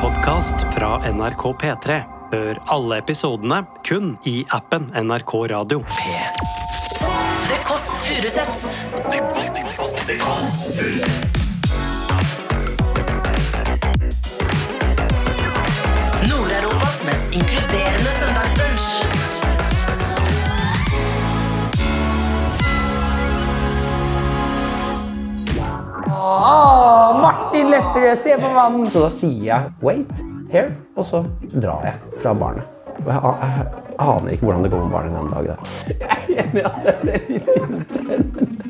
podkast fra NRK P3. Hør alle episodene kun i appen NRK Radio. The Kåss Furuseths. Nord-Europas mest inkluderende søndagsbrunch. Martin Lepperød, se på mannen! Så da sier jeg 'wait here', og så drar jeg fra barnet. Og jeg, a- jeg aner ikke hvordan det går med barnet den dagen. der. Jeg er enig i at det er litt intenst.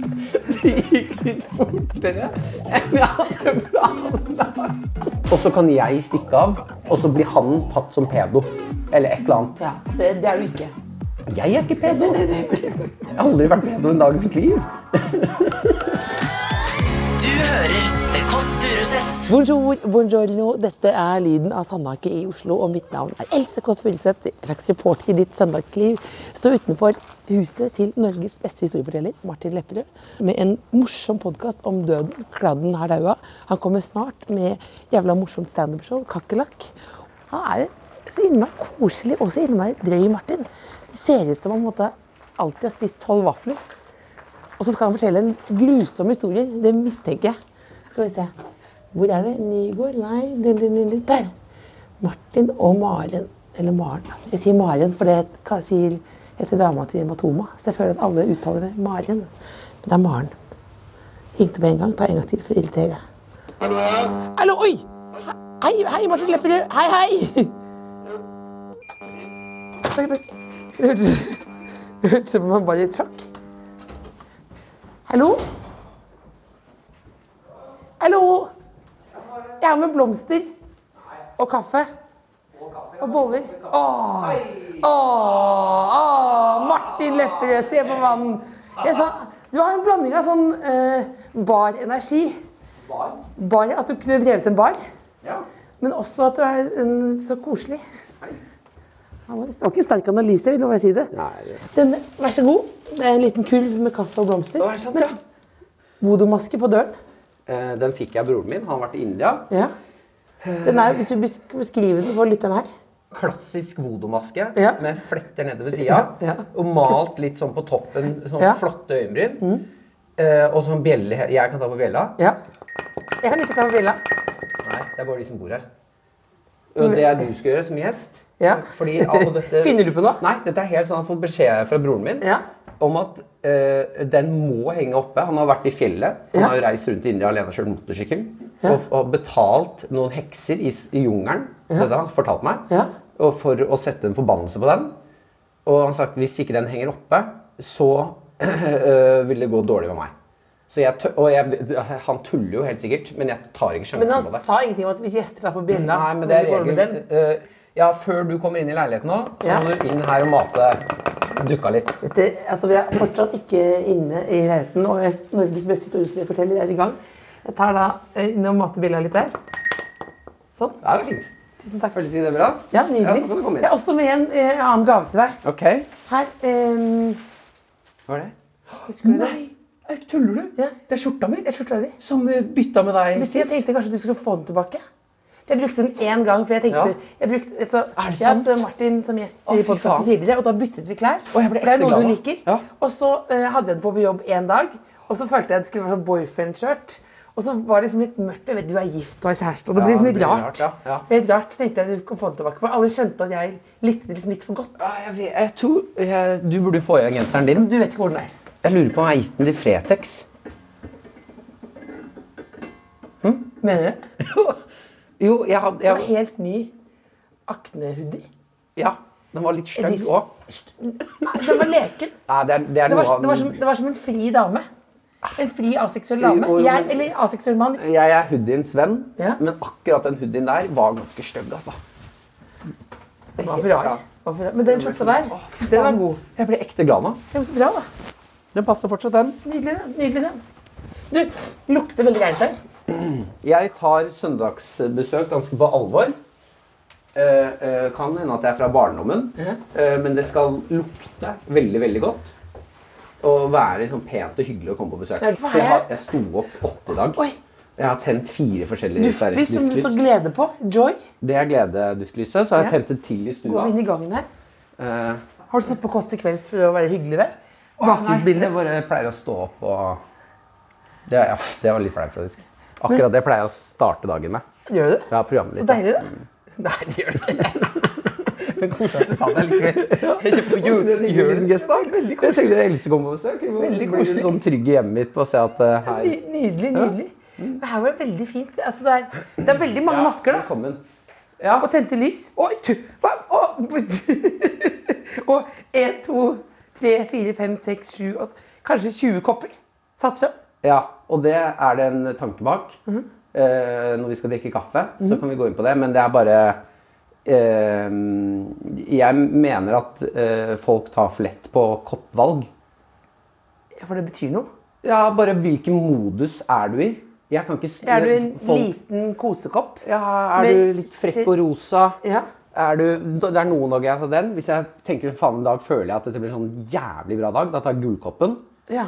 Det gikk litt fortere enn jeg hadde planlagt. Og så kan jeg stikke av, og så blir han tatt som pedo. Eller et eller annet. Ja, det, det er du ikke. Jeg er ikke pedo. Jeg har aldri vært pedo en dag i mitt liv. Du hører The Kåss Furuseths. Bonjour, buongiorno. Dette er lyden av Sandhake i Oslo, og mitt navn er Else Kåss Furuseth, en slags reporter i ditt søndagsliv. Står utenfor huset til Norges beste historieforteller, Martin Lepperød, med en morsom podkast om døden. Kladden har daua. Han kommer snart med jævla morsomt standup-show, Kakerlakk. Han er så innmari koselig og så innmari drøy, Martin. Det ser ut som han på en måte alltid har spist tolv vafler. Og så skal han fortelle en grusom historie. Det mistenker jeg. Skal vi se. Hvor er det? Nygård? Nei, den- den- den- den- der. Martin og Maren. Eller Maren. da. Jeg sier Maren, for det ka- sier, heter dama til Matoma. Så jeg føler at alle uttaler det Maren. Men det er Maren. Ringte med en gang. Ta en gang til for å irritere. Hallo? Hallo, oi! Hei, hei, Martin Lepperød. Hei, hei! Takk, takk. Det hørtes- det hørtes ut som om han var i et sjokk. Hallo? Hallo? Jeg har med blomster. Og kaffe. Og boller. Åh! Åh! Åh! Martin Lepperød, se på mannen. Jeg sa, du har en blanding av sånn eh, bar-energi. Bar? At du kunne drevet en bar. Men også at du er en, så koselig. Han var- Det var ikke en sterk analyse, vil jeg bare si det. Denne, vær så god. Det er en liten kurv med kaffe og blomster. Men- Vodomaske på døren. Eh, Den fikk jeg av broren min. Han har vært i India. Ja. Den er, hvis du besk- beskriver den for lytteren her. klassisk vodomaske Ja. med fletter nede ved sida. Ja, ja. Og malt litt sånn på toppen. Sånn Ja. Mm. flotte øyenbryn. Eh, og sånn bjelle he- Jeg kan ta på bjella. Ja. Jeg kan ikke ta med bjella. Nei, det er bare de som bor her. Og det er du skal gjøre som gjest. Ja. Fordi, og dette, Finner du på noe? Nei, dette er helt sånn jeg får beskjed fra broren min Ja. om at eh, den må henge oppe. Han har vært i fjellet. Han Ja. har jo reist rundt i India alene og kjørt motorsykkel. Og, og betalt noen hekser i, s- i jungelen. Dette har han fortalt meg. Ja. Og for å sette en forbannelse på den. Og han sa at hvis ikke den henger oppe, så eh, vil det gå dårlig med meg. Så jeg, tø- og jeg, han tuller jo helt sikkert, men jeg tar ikke Men sjansen på han det. sa ingenting om at hvis gjester tar på bjella, Nei, så men må det du er gå over med regel. dem. Eh, ja, før du kommer inn i leiligheten nå, så Ja. må du inn her og mate dukka litt. Dette, altså, vi er fortsatt ikke inne i leiligheten, og jeg- Norges beste historieforteller er i gang. Jeg tar da eh, inn og mater bjella litt der. Sånn. Det er jo fint. Tusen takk. Føles det bra? Ja, Ja, så kan du Nydelig. komme Jeg inn. er også med en eh, annen gave til deg. Ok. Her. ehm, Hva er det? husker du det? Nei, tuller du? Ja. Det er skjorta mi. Jeg skjorta di. Som eh, bytta med deg Jeg tenkte kanskje du skulle få den tilbake. Jeg brukte den én gang. for Jeg tenkte, Ja. jeg brukte, altså, det jeg sant? hadde Martin som gjest Å, i fy faen. podkasten tidligere, og da byttet vi klær. Å, jeg ble for det er ekte noe glad du nå. liker. Ja. Og så eh, hadde jeg den på jobb én dag, og så følte jeg det skulle være sånn boyfriend-skjørt. Og så var det liksom litt mørkt. Jeg vet, Du er gift og har kjæreste. og Det Ja, blir liksom det litt blir rart. rart, ja, ja. Litt rart, så tenkte jeg du kan få den tilbake. For alle skjønte at jeg likte det liksom litt for godt. Ja, jeg, vet- jeg tror jeg, Du burde få igjen genseren din. Du vet ikke hvor den er. Jeg lurer på om jeg har gitt den til Fretex. Mener du? Jo, jeg hadde Det var jeg, helt ny aknehoodie. Ja. Den var litt stygg Edis- òg. Den var leken. Ja, det er, det er Det noe var, det, var av- som, det var som en fri dame. En fri aseksuell dame. Jo, jo, Jeg, men- eller aseksuell mann. Jeg er hoodiens venn, Ja. men akkurat den hoodien der var ganske stygg, altså. Den var for rar. Ja. Den var for rar. Men den skjorta der, den var god. Jeg ble ekte glad nå. Den var så bra, da. Den passer fortsatt, den. Nydelig, den. Nydelig, den. Du, lukter veldig gærent her. Jeg tar søndagsbesøk ganske på alvor. Eh, eh, kan hende at det er fra barndommen, eh, men det skal lukte veldig, veldig godt. Og være sånn pent og hyggelig å komme på besøk. Ja, hva Så jeg, har, er- jeg sto opp åtte i dag. Oi. Jeg har tent fire forskjellige Duftlys som du så duftlys. glede på. Joy. Det er glededuftlyset. Så har jeg Ja. tent et til i Gå stua. inn i gangen her. Eh, Har du stått på Kåss til kvelds for å være hyggelig der? Bakgrunnsbildet. Bakgrunnsbildet. Jeg bare pleier å stå opp og Det, ja, det var litt flaut, faktisk. Akkurat det pleier jeg å starte dagen med. Gjør du det? Jeg har programmet Så ditt. deilig, da. Nei, det gjør det ikke. Men koselig at du sa det likevel. Jeg kjøper jo Gjør det en gest, da? Veldig koselig. Jeg tenkte Else kom på besøk. Veldig Veldig koselig. koselig. Sånn trygg i hjemmet mitt på å se at eh, her Ny- Nydelig, nydelig. Men her var det veldig fint. Altså, det, er, det er veldig mange masker, da. Velkommen. Og tente lys. Oi, tu, hva? Og- Og én, to, tre, fire, fem, seks, sju, åtte Kanskje 20 kopper satt fram. Ja, og det er det en tanke bak. Mhm. Eh, når vi skal drikke kaffe, så kan vi gå inn på det. Men det er bare eh, Jeg mener at eh, folk tar for lett på koppvalg. Ja, For det betyr noe. Ja, bare hvilken modus er du i? Jeg kan ikke s- Er du en folk- liten kosekopp? Ja, er Men- du litt frekk og rosa? Ja. Er du, det er noen dager jeg tar den. Hvis jeg tenker sånn, faen i dag føler jeg at dette blir en sånn jævlig bra dag, da tar jeg gulkoppen. ja.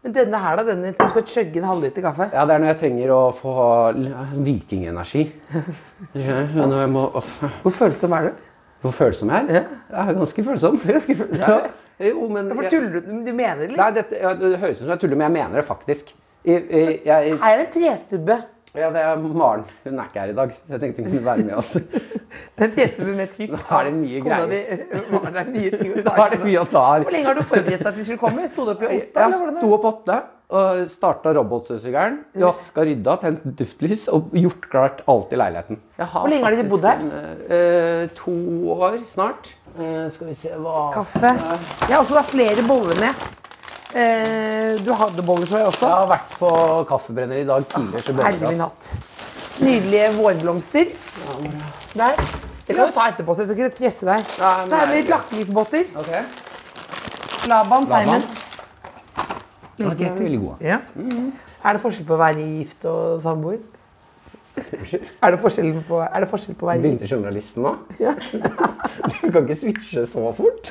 Men denne her, da? Denne som skal chugge en halvliter kaffe? Ja, det er når jeg trenger å få l- vikingenergi. Du skjønner? Når jeg må, off. Hvor følsom er du? Hvor følsom jeg er? Jeg er ganske følsom. Ganske følsom. Ja. Jo, men Hvorfor jeg- tuller du? Du mener det litt? Nei, dette, ja, det høres ut som jeg tuller, men jeg mener det faktisk. Jeg, jeg, jeg, Her er det en trestubbe. ja, det er Maren. Hun er ikke her i dag, så jeg tenkte hun kunne være med oss. Det er en trestubbe med trykk. Nå er det mye Kona greier. di- Hva, Det er nye ting å Da ta er det mye å ta her. Hvor lenge har du forberedt deg at vi skulle komme? Sto du opp i åtte? eller Jeg hvordan er det? sto opp åtte og starta robotstøvsugeren. Vaska, rydda, tent duftlys og gjort klart alt i leiligheten. Hvor lenge har dere bodd her? eh, to år snart. Eh, skal vi se hva Kaffe. Jeg har også da flere boller med. Eh, du hadde boller, tror jeg også. Jeg har vært på kaffebrenner i dag tidligere. så bønner Herre min hatt. Nydelige vårblomster. Der. Det kan du ta etterpå, så jeg skal ikke stresse deg. Nei, men Her er det det litt lakrisbåter. Ok. Laban, Laban. Simon. Ja, de er veldig gode. Ja. Mm-hmm. Er det forskjell på å være gift og samboer? Er det forskjell på, er det forskjell på å være gift? Begynte journalisten nå? Du kan ikke switche så fort.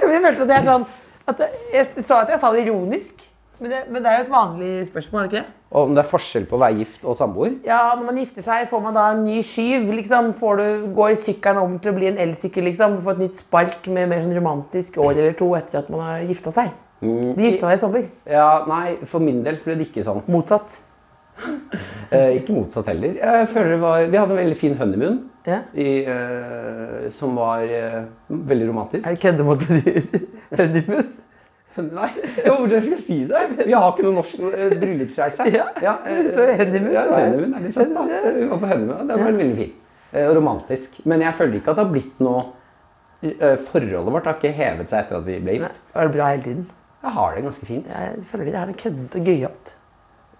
Men jeg følte at det er sånn at jeg, jeg sa at jeg sa det ironisk, men det, men det er jo et vanlig spørsmål, er det ikke det? Og om det er forskjell på å være gift og samboer? Ja, når man gifter seg, får man da en ny skyv, liksom. Får du, går sykkelen om til å bli en elsykkel, liksom. Du får et nytt spark med mer sånn romantisk år eller to etter at man har gifta seg. Du gifta deg i sommer. Ja, nei, for min del så ble det ikke sånn. Motsatt. Eh, ikke motsatt heller. Jeg føler det var, vi hadde en veldig fin honeymoon Ja. i, eh, som var eh, veldig romantisk. Jeg kødder med at du sier honeymoon. Nei, ja, hvordan skal jeg si det? Vi har ikke noen norsk eh, bryllupsreise. eh, Ja, det står honeymoon. Ja, honeymoon er litt sånn, søtt, da. Vi var på honeymoon, det var veldig fint. Eh, og romantisk. Men jeg føler ikke at det har blitt noe eh, Forholdet vårt har ikke hevet seg etter at vi ble Nei, gift. Var det bra hele tiden? Jeg har det ganske fint. Jeg føler det er noe køddete og gøyalt.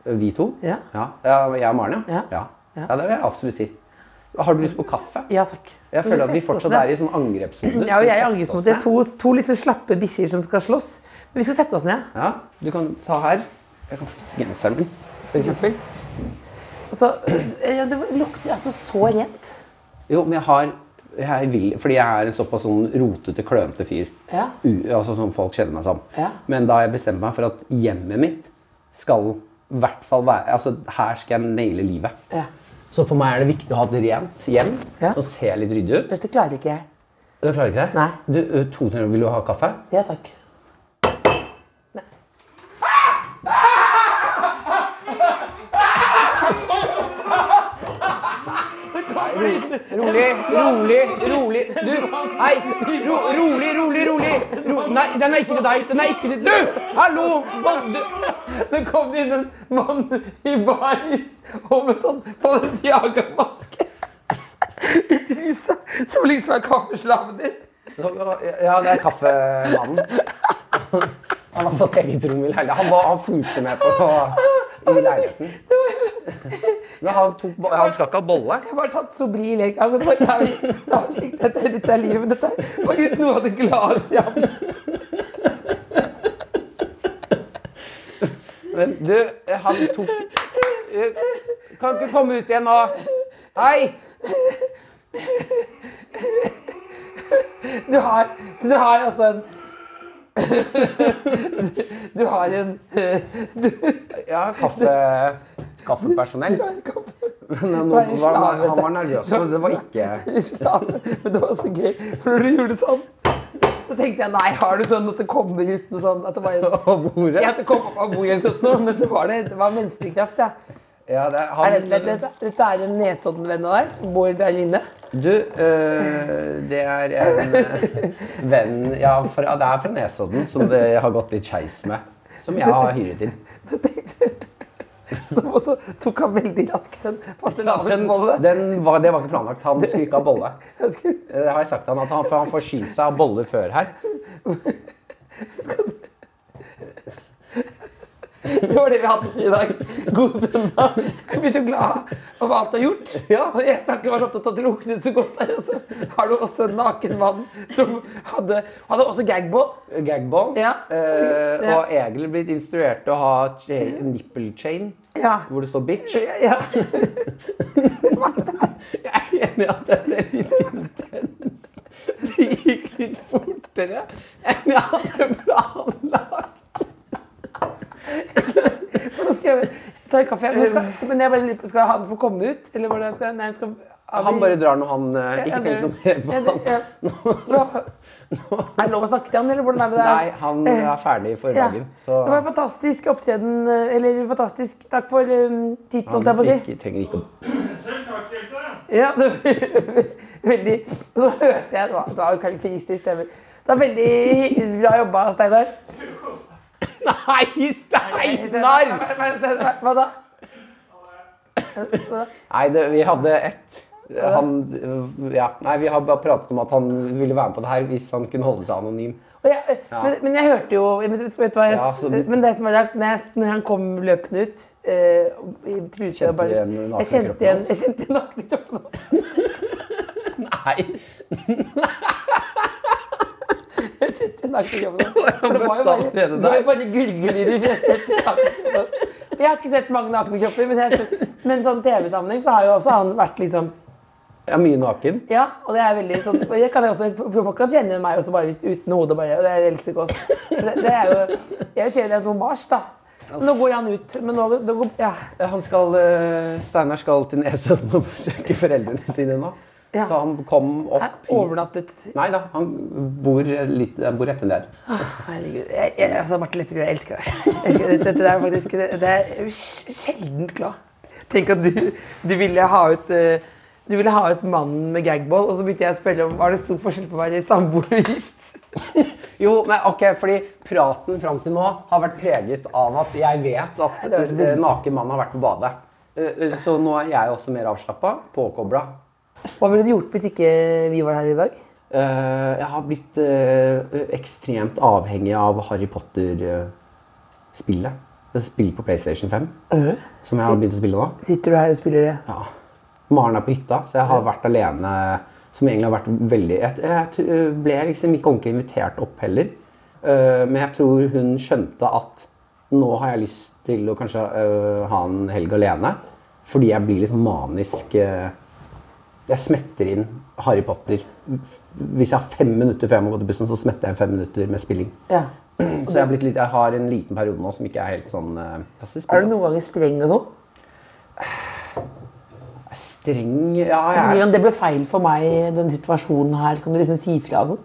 Vi to? Ja. ja. ja jeg og Maren, Ja. ja. Ja. Ja. ja. Det vil jeg absolutt si. Har du lyst på kaffe? Ja takk. Jeg Så føler vi at vi setter oss fortsatt ned. er i sånn angrepsmodus. Ja, og jeg Vi er setter angringsmot. oss Det er ned. to, to litt så slappe bikkjer som skal slåss. Men vi skal sette oss ned. Ja, du kan ta her. Jeg kan flytte genseren min, for eksempel. Altså, ja, det lukter altså så rent. Jo, men jeg har jeg vil, Fordi jeg er en såpass sånn rotete, klønete fyr. Ja. U, altså som folk kjenner meg som. Ja. Men da har jeg bestemt meg for at hjemmet mitt skal i hvert fall være Altså, her skal jeg naile livet. Ja. Så for meg er det viktig å ha et rent hjem Ja. som ser litt ryddig ut. Dette klarer ikke jeg. Du klarer ikke det? Nei. Du, ø, to sekunder, vil du ha kaffe? Ja takk. Rolig, rolig, rolig. Du, nei, ro, rolig, rolig, rolig. Ro, nei, den er ikke til deg. Den er ikke til Du! Hallo! mann, du. Det kom inn en mann i baris og med sånn Balenciaga-maske. I trusa, som liksom er kaffeslaven din. Ja, det er kaffemannen. Han har fått eget rom i leiligheten. Han, var- han fulgte med på i leiligheten. Men han, tok, bo- han skal ikke ha bolle. Jeg har bare tatt Sobril en gang. og det var- Da vi- da fikk dette er litt av livet. Dette er faktisk noe av det gladeste jeg har hatt. Men du, han tok Eh, Kan ikke komme ut igjen nå. Hei! Du har, så du har altså en Du har en eh, du, Ja, kaffe kaffepersonell. Men han, var, Bare var, slavet. han var nervøs, men det var ikke Men det var så gøy, for når du gjorde sånn, så tenkte jeg nei, har du sånn at det kommer ut noe sånn at det bare Av bordet. Ja, at det kom opp av bordet eller sånt noe, men så var det, det var menneskelig kraft, ja. Ja, det, er- han, Er det, det, det, dette er en Nesodden-venn av deg som bor der inne? Du, øh, det er en øh, venn ja, fra, Det er fra Nesodden som det har gått litt skeis med. Som jeg har hyret inn. Så tenkte Som også tok han veldig raskt den Den, fastelavnsbolle. den var, det var ikke planlagt. Han skulle ikke ha bolle. Eh, Jeg skulle- Det har jeg sagt til han, at han, for han får skyndt seg å ha boller før her. Det var det vi hadde for i dag. God søndag. Jeg blir så glad over alt du har gjort. Og Jeg skal ikke være så opptatt av at det lukter så godt her. og så Har du også en naken mann som hadde, hadde også gagball? Gagball. Ja. Øh, Ja. Og egentlig blitt instruert til å ha cha- nipple chain, Ja. hvor det står 'bitch'. ja. Jeg er enig i at det ble litt intenst. Det gikk litt fortere enn jeg hadde planlagt. Nå skal jeg ta en kaffe. Men skal, skal, men jeg bare, lurer på, skal han få komme ut? Eller hvordan skal Nei, skal har vi- Han bare drar når han eh, Ja, Ikke tenk drar- noe Ja, mer på det- han. ja. Nå- Er det lov å snakke til han, eller hvordan er det der? Nei, han er ferdig for Ja. dagen. Det Så var en fantastisk opptreden, eller fantastisk takk for um, titten, holdt jeg han på å si. ikke, trenger ikke å Selv takk, Else. Ja, det var veldig Og så hørte jeg Det var, det var jo karakteristisk stemme. Det var veldig hy- bra jobba, Steinar. Nei, Steinar! Hva- Hva da? Nei, det, vi hadde ett han, ja. Nei, Vi har bare pratet om at han ville være med på det her hvis han kunne holde seg anonym. Og jeg, men, men jeg hørte jo men, vet, vet du hva jeg, Ja, så- men det som er rart, når, jeg, når han kom løpende ut eh, i truse Kjente og bare, du igjen Jeg kjente nakenkroppen igjen hans? Jeg kjente igjen nakenkroppen hans. Nei, Jeg kjente igjen nakenkroppen hans. For det var jo besta bare, allerede det var der. jo bare gurgelyder. for Jeg, kjente igjen nakenkroppen hans. jeg har ikke sett mange nakne kropper, men, jeg, men sånn TV-sammenheng så har jo også han vært liksom jeg er mye naken. Ja, og det er veldig sånn og det kan jeg også, for Folk kan kjenne igjen meg også bare hvis, uten hode. bare, og Det er Else Kåss. Det, det er jo Jeg vil si det er noe mars, da. Nå går han ut. Men nå, nå går, ja. Han skal, eh, Steinar skal til Nesodden og besøke foreldrene sine nå. Ja. Så han kom Hæ? opp hit. Overnattet. Nei da, han bor, litt, han bor etter der. Herregud. Jeg, jeg, altså, Marte Lepperød, jeg elsker deg. Jeg elsker deg. Dette er faktisk det, det er jeg sjeldent glad. Tenk at du, du ville ha ut eh, du ville ha ut mannen med gagball, og så begynte jeg å spørre om var det stor forskjell på å være samboer og gift. Jo, men ok, fordi praten fram til nå har vært preget av at jeg vet at eh, naken mann har vært på badet. Eh, eh, Så nå er jeg også mer avslappa, påkobla. Hva ville du gjort hvis ikke vi var her i dag? Jeg har blitt eh, ekstremt avhengig av Harry eh, Potter-spillet. Spill på PlayStation 5, som jeg har begynt å spille nå. Sitter du her og spiller det? Ja. Maren er på hytta, så jeg har vært alene. Som egentlig har vært veldig Jeg, jeg t- ble liksom ikke ordentlig invitert opp heller. Eh, men jeg tror hun skjønte at nå har jeg lyst til å kanskje eh, ha en helg alene. Fordi jeg blir litt manisk eh, Jeg smetter inn Harry Potter. Hvis jeg har fem minutter før jeg må gå til bussen, så smetter jeg inn fem minutter med spilling. Ja. Så jeg, har blitt litt, jeg har en liten periode nå som ikke er helt sånn eh, klassisk. Er du noen ganger streng og sånn? Streng Du Ja, sier jeg er han, Altså, det ble feil for meg, den situasjonen her. Kan du liksom si fra og sånn?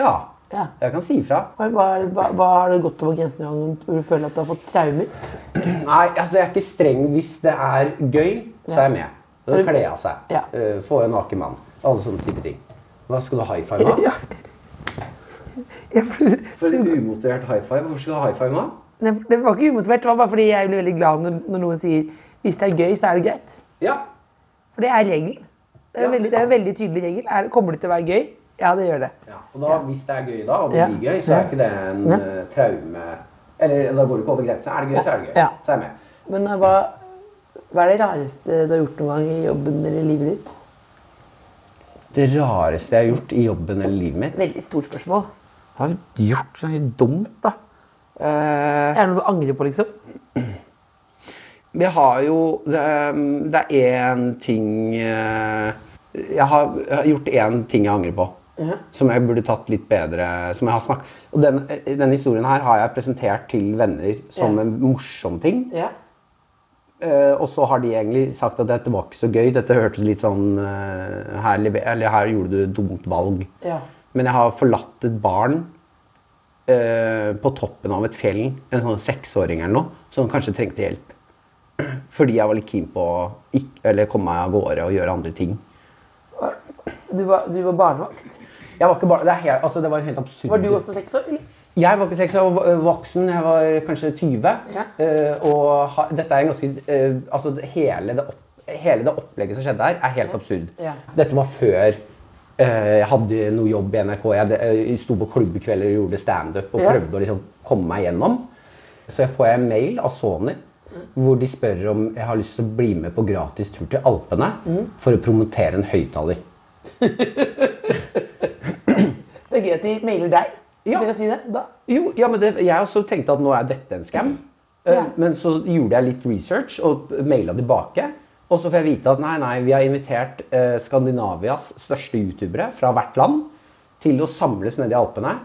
Ja. Ja. Jeg kan si ifra. Hva, hva, hva- hva har du gått over grensen noen gang hvor du føler at du har fått traumer? Nei, altså jeg er ikke streng. Hvis det er gøy, så er jeg med. Da Er du- kler jeg av seg. Ja. Eh, Få en naken mann. Alle sånne type ting. Hva skal du high five med? Ja. Ja, for, For en umotivert high five. Hvorfor skal du high five med? Nei, for det var ikke umotivert, det var bare fordi jeg blir veldig glad når, når noen sier hvis det er gøy, så er det greit. Ja. For det er regelen. Det er en Ja. veldig, det er en veldig tydelig regel. Er, det- kommer det til å være gøy? Ja, det gjør det. ja. Og da, hvis det er gøy da, og det Ja. blir gøy, så er ikke det en Ja. eh, traume Eller da går du ikke over grensa. Er det gøy, så er det gøy. Ja. Så er jeg med. Men eh, hva, hva er det rareste du har gjort noen gang i jobben eller i livet ditt? Det rareste jeg har gjort i jobben eller livet mitt Veldig stort spørsmål. Har gjort så mye dumt, da. Eh, Er det noe du angrer på, liksom? Vi har jo Det, ehm, det er én ting eh, jeg har, jeg har gjort én ting jeg angrer på. Som jeg burde tatt litt bedre som jeg har snakk- Og den, eh, Denne historien her har jeg presentert til venner som Ja. en morsom ting. Ja. Eh, og så har de egentlig sagt at dette var ikke så gøy. Dette hørtes litt sånn eh, her, lever- eller her gjorde du et dumt valg. Ja. Men jeg har forlatt et barn eh, på toppen av et fjell, en sånn seksåring eller noe, som kanskje trengte hjelp. Fordi jeg var litt keen på å ikk- eller komme meg av gårde og gjøre andre ting. Du var, du var barnevakt? Jeg var ikke bare, det, er helt, altså, det var en helt absurd Var du også seks år? eller? Jeg var ikke seks år jeg var voksen, jeg var kanskje 20. Ja. eh, og ha, dette er en ganske eh, Altså det- hele det, opp, hele det opplegget som skjedde her, er helt absurd. Ja. Dette var før eh, jeg hadde noe jobb i NRK. Jeg, eh, sto på klubbkvelder og gjorde standup og Ja. prøvde å liksom komme meg gjennom. Så jeg får en mail av Sony hvor de spør om jeg har lyst til å bli med på gratis tur til Alpene Mm. for å promotere en høyttaler. Det er gøy at de mailer deg. Ja. Hvis jeg kan si det. Da. Jo, ja, men det, jeg også tenkte at nå er dette en scam. Eh, Ja. Men så gjorde jeg litt research og maila tilbake. Og så får jeg vite at nei, nei, vi har invitert eh, Skandinavias største youtubere fra hvert land til å samles nede i Alpene,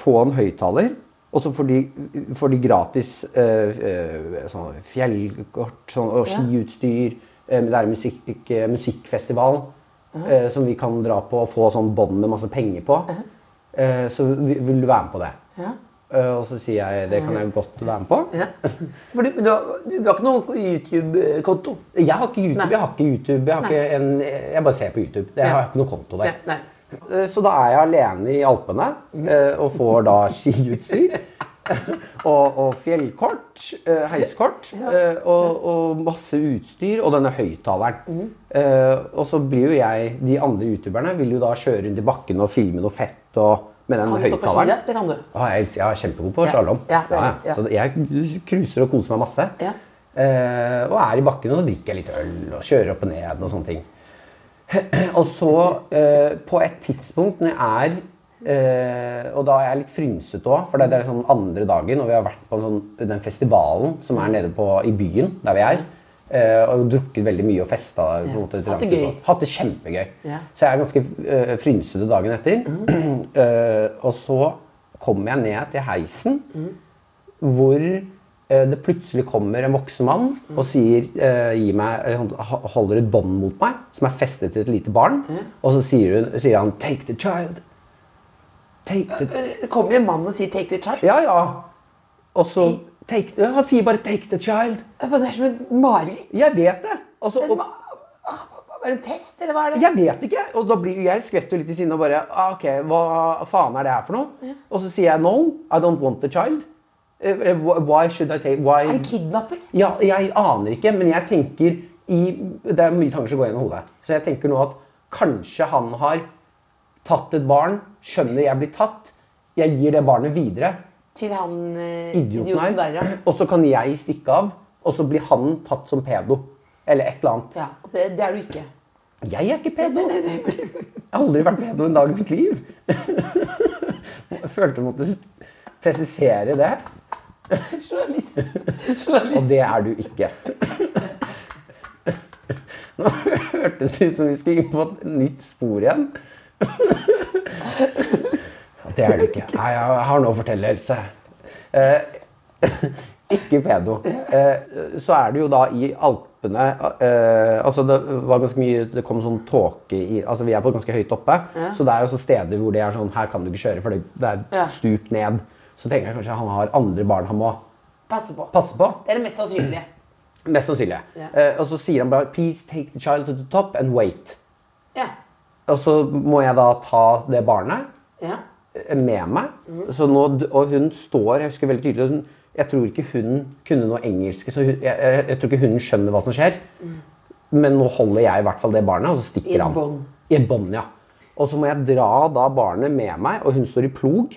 få en høyttaler, og så får de, får de gratis eh, eh, sånn fjellkort sånn, og Ja. skiutstyr. eh, det er en musikk, ikke- musikkfestival eh, som vi kan dra på og få sånn bånd med masse penger på. Eh, så vi- vil du være med på det? Ja. Eh, og så sier jeg det kan jeg godt være med på. Ja. For du, du, har, du har ikke noen YouTube-konto? Jeg har ikke YouTube. Nei. Jeg, har ikke YouTube jeg, har ikke en, jeg bare ser på YouTube. Jeg har ikke noe konto der. Nei, Mm. nei. Eh, Så da er jeg alene i Alpene eh, og får da skiutstyr. og, og fjellkort, eh, heiskort eh, og, og masse utstyr og denne høyttaleren. Mm. Eh, Og så blir jo jeg De andre youtuberne vil jo da kjøre rundt i bakken og filme noe fett og, med den Kan du stå på ski? høyttaleren. da? Det kan du. Ja, Ah, jeg, elsker- jeg er kjempegod på Ja. slalåm. Ja, det er du. Ja. Så jeg cruiser og koser meg masse. Ja. Eh, og er i bakken og drikker litt øl og kjører opp og ned og sånne ting. og så, eh, på et tidspunkt når jeg er eh, Og da er jeg litt frynsete òg, for det det er sånn andre dagen, og vi har vært på en sånn, den festivalen som er nede på, i byen, der vi er. eh, og drukket veldig mye og festa. på en måte, Hatt det langt gøy. utpå. Hatt det kjempegøy. Ja. Så jeg er ganske eh, frynsete dagen etter. Eh, og så kommer jeg ned til heisen, hvor eh, det plutselig kommer en voksen mann og sier, eh, gi meg, eller han ho- holder et bånd mot meg, som er festet til et lite barn. Og så sier, hun, sier han 'take the child'. Take the Det kommer jo en mann og sier 'take the child'. Ja, ja. Og så take the, Han sier bare 'take the child'. Det er som et mareritt. Jeg vet det. Og så, En og, ma- Er det en test, eller hva er det? Jeg vet ikke. Og da blir jeg skvetter jo litt i sinne og bare ah, OK, hva faen er det her for noe? Og så sier jeg no, I don't want a child. Eh, eh, wh- Why should I take why? Er det kidnapper? Ja, jeg aner ikke, men jeg tenker i Det er mye tanker som går gjennom hodet. Så jeg tenker nå at kanskje han har tatt et barn, skjønner jeg blir tatt. Jeg gir det barnet videre. Til han eh, Idioten, idioten der, her. ja. Og så kan jeg stikke av, og så blir han tatt som pedo. Eller et eller annet. ja. og Det, det er du ikke. Jeg er ikke pedo. Jeg har aldri vært pedo en dag i mitt liv. Jeg følte jeg måtte s- presisere det. Journalist. Og det er du ikke. Nå hørtes det ut som vi skulle inn på et nytt spor igjen. Det er du ikke. Nei, jeg har noe å fortelle, Else. Eh, ikke pedo. Eh, så er det jo da i Alpene eh, Altså, det var ganske mye Det kom sånn tåke i Altså, vi er på ganske høyt oppe, så det er jo så steder hvor det er sånn Her kan du ikke kjøre, for det, det Ja. er stup ned. Så tenker jeg kanskje han har andre barn han må Passe på. passe på. Det er det mest sannsynlige. Mest sannsynlig. Ja. Eh, og så sier han bare 'please take the child to the top and wait'. Ja. Og så må jeg da ta det barnet ja. eh, med meg. Mhm. Så nå, d- og hun står Jeg husker veldig tydelig hun, Jeg tror ikke hun kunne noe engelsk, så hun, jeg, jeg, jeg tror ikke hun skjønner hva som skjer. Men nå holder jeg i hvert fall det barnet, og så stikker Mhm. I et han. bånd. I et bånd, ja. Og så må jeg dra da barnet med meg, og hun står i plog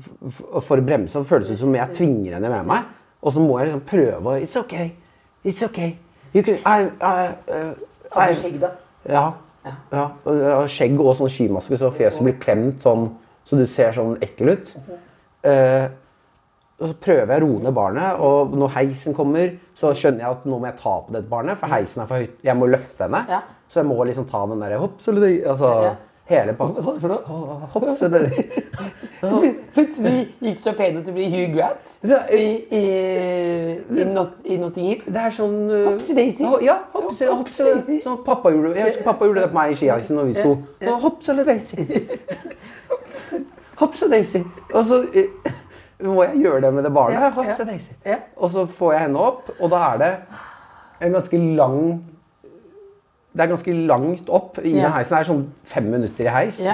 for, for å bremse. og Det føles ut som jeg tvinger henne med meg. Og så må jeg liksom prøve å It's okay. It's okay. You can, I, I, uh, I- Hadde du skjegg da? Ja. ja. Og jeg har skjegg og sånn skimaske, så fjeset blir klemt sånn, så du ser sånn ekkel ut. Eh, og så prøver jeg å roe ned barnet, og når heisen kommer, så skjønner jeg at nå må jeg ta på dette barnet, for heisen er for høyt. Jeg må løfte henne. Ja. Så jeg må liksom ta den der hopp, så det- altså, Ja. Hele pakka. sa du for noe? Hopp, se der. Plutselig gikk du fra Payne til å bli Hugh Grant i, i, i, Not, i Notting Hill. Det er sånn uh, Hopsi daisy. Ja, hopsi, hopsi, Ja, hopsi daisy. Sånn pappa gjorde, jeg husker pappa gjorde det på meg i skiheisen når vi sto. Ja, Hopsi eller daisy. Hopsi daisy. Og så eh, må jeg gjøre det med det barnet. Ja, Ja, Hopsi ja. daisy. Ja. Og så får jeg henne opp, og da er det en ganske lang Det er ganske langt opp i den Ja. heisen. Det er sånn fem minutter i heis. Ja.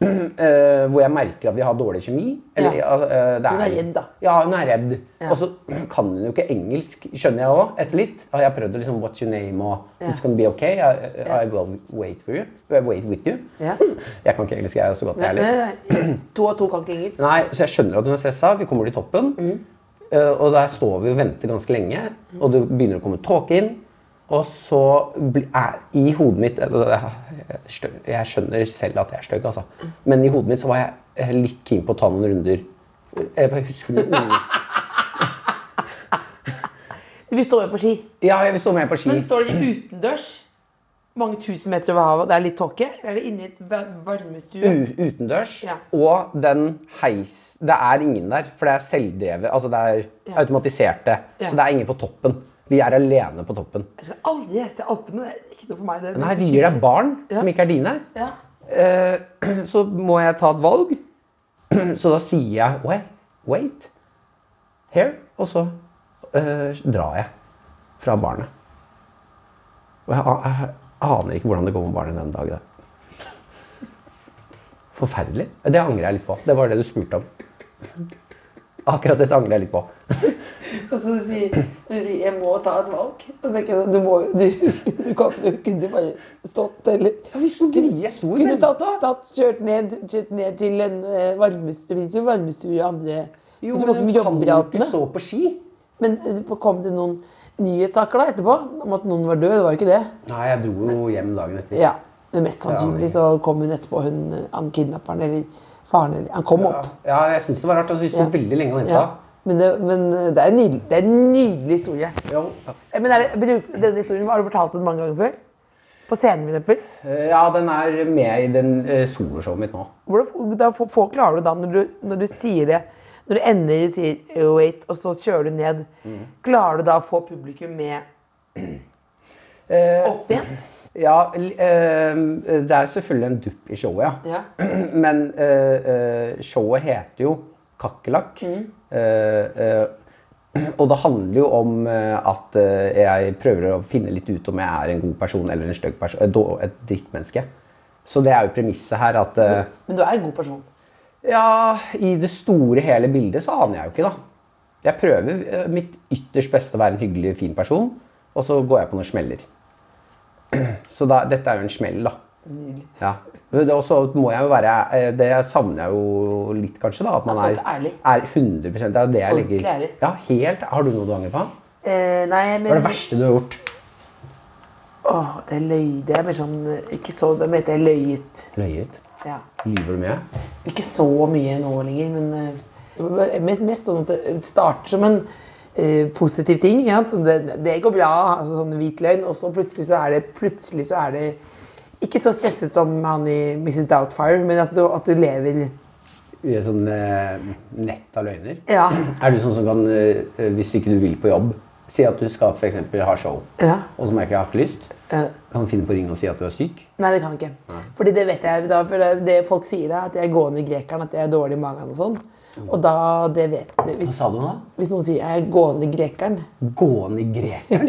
eh, hvor jeg merker at vi har dårlig kjemi. Eller, Ja. altså, eh, det Hun er redd, da. Ja, hun er redd. Og så kan hun jo ikke engelsk, skjønner jeg òg, etter litt. Og jeg har prøvd å liksom What's your name? og It's gonna be okay. I, I will wait for you. I wait with you. Ja. Jeg kan ikke engelsk, jeg er så godt jeg er heller. Nei, nei, nei. To av to kan ikke engelsk. Nei, så jeg skjønner at hun er stressa. Vi kommer til toppen. Mm. Eh, og der står vi og venter ganske lenge, og det begynner å komme tåke inn. Og så bli- er i hodet mitt eh, jeg skjø- Jeg skjønner selv at jeg er stygg, altså. Men i hodet mitt så var jeg eh, litt keen på å ta noen runder. Jeg bare husker noen ord. Du vil stå med på ski. Ja, jeg vil stå med på ski. Men står dere utendørs, mange tusen meter over havet, det er litt tåke? Eller er det inne i et va- varmestue? U- Utendørs. Ja. Og den heis Det er ingen der, for det er selvdrevet. Altså det er Ja. automatiserte. Ja. Så det er ingen på toppen. Vi er alene på toppen. Jeg skal aldri reise til Alpene. Det er ikke noe for meg. Det er Nei, de gir deg barn som ikke er dine. Ja. Eh, så må jeg ta et valg. Så da sier jeg wait, wait here, og så eh, drar jeg fra barnet. Og jeg, a- jeg aner ikke hvordan det går med barnet den dag i dag. Forferdelig. Det angrer jeg litt på. Det var det du spurte om. Akkurat dette angrer jeg litt på. Og så sier når du sier 'jeg må ta et valg', og så tenker jeg sånn, du må jo- du, du kan du kunne bare stått eller Jeg sto i Kunne vente. tatt, tatt kjørt, ned, kjørt ned til en eh, varmestue. Det fins jo varmestue i andre Jo, men Så kan du de kan jobbe i jo Alpene. ikke stå på ski. Men eh, kom det noen nyhetssaker da etterpå om at noen var død? Det var jo ikke det. Nei, jeg dro jo hjem dagen etter. Ja, Men mest sannsynlig så kom hun etterpå, hun, eh, han kidnapperen eller faren eller Han kom opp. Ja, jeg syns det var rart. Altså, vi sto Ja. veldig lenge og venta. Ja. Men, det, men eh, det er en nydelig, det er en nydelig historie. Eh, Men er det, bruk- denne historien har du fortalt den mange ganger før? På scenen, for eksempel? Eh, Ja, den er med i den eh, soloshowet mitt nå. Hvordan da, for, for klarer du da når du, når du sier det Når du ender i sier «Oh, wait, og så kjører du ned. Mm. Klarer du da å få publikum med opp igjen? Eh, Ja, l- eh, det er selvfølgelig en dupp i showet, ja. Ja. Men eh, eh, showet heter jo Kakerlakk. Mm. Eh, eh, og det handler jo om eh, at eh, jeg prøver å finne litt ut om jeg er en god person eller en stygg person. Et, då- et drittmenneske. Så det er jo premisset her at eh, Men du er en god person. Ja, i det store hele bildet så aner jeg jo ikke, da. Jeg prøver eh, mitt ytterst beste å være en hyggelig, fin person, og så går jeg på noen smeller. Så da, dette er jo en smell, da. Ja. Men det er også, må jeg jo være, eh, det savner jeg jo litt, kanskje. da, At man At er, folk er ærlig. er 100 Det er jo det jeg Ordentlig legger ærlig. Ja, helt, Har du noe du angrer på? Eh, nei, men Hva er det verste du har gjort? Åh, det er løy. Det er mer sånn eh, Ikke så Det heter jeg løyet. Løyet? Ja. Lyver du mye? Ikke så mye nå lenger, men eh, mest, mest sånn at det starter som en eh, positiv ting. ikke sant? Det, det går bra, altså sånn hvit løgn, og så plutselig så er det plutselig så er det ikke så stresset som han i Mrs. Doubtfire, men altså, du- at du lever I et sånn eh, nett av løgner? Ja. Er du sånn som kan, eh, hvis ikke du vil på jobb, si at du skal for eksempel ha show, Ja. og så merker jeg at jeg har ikke lyst, Ja. kan du finne på å ringe og si at du er syk? Nei, det kan jeg ikke. Fordi det vet jeg. Da, for det, det folk sier, er at jeg går med grekeren, at jeg er dårlig i magen og sånn. Og da det vet Hva Hvis, sa du nå? hvis noen sier jeg er gående grekeren Gående greker.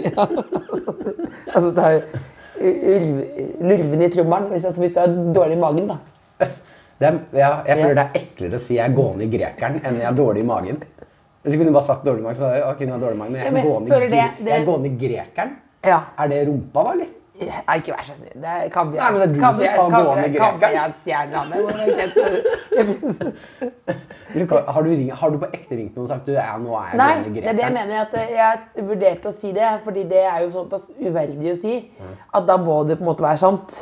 Altså ta ulv, lurven i trommelen. Hvis, altså, hvis du har dårlig i magen, da. Det er, ja, jeg føler det er eklere å si jeg er gående grekeren enn jeg er dårlig i magen. Hvis jeg kunne bare sagt dårlig i magen, så hadde jeg, ok, nå er jeg dårlig i magen, men jeg Ja, men er gående, gre- føler det- det- jeg er gående grekeren. Ja. Er det rumpa da, eller? Nei, ikke vær så snill. Det er kaviar. Nei, men det er du som sa gående grekeren. grekeren. Eller hva- Har du, ring- har du på ekte ringt noen og sagt du, ja, nå er jeg Nei, gående det grekeren? er det jeg mener. at Jeg vurderte å si det, fordi det er jo såpass uverdig å si at da må det på en måte være sant.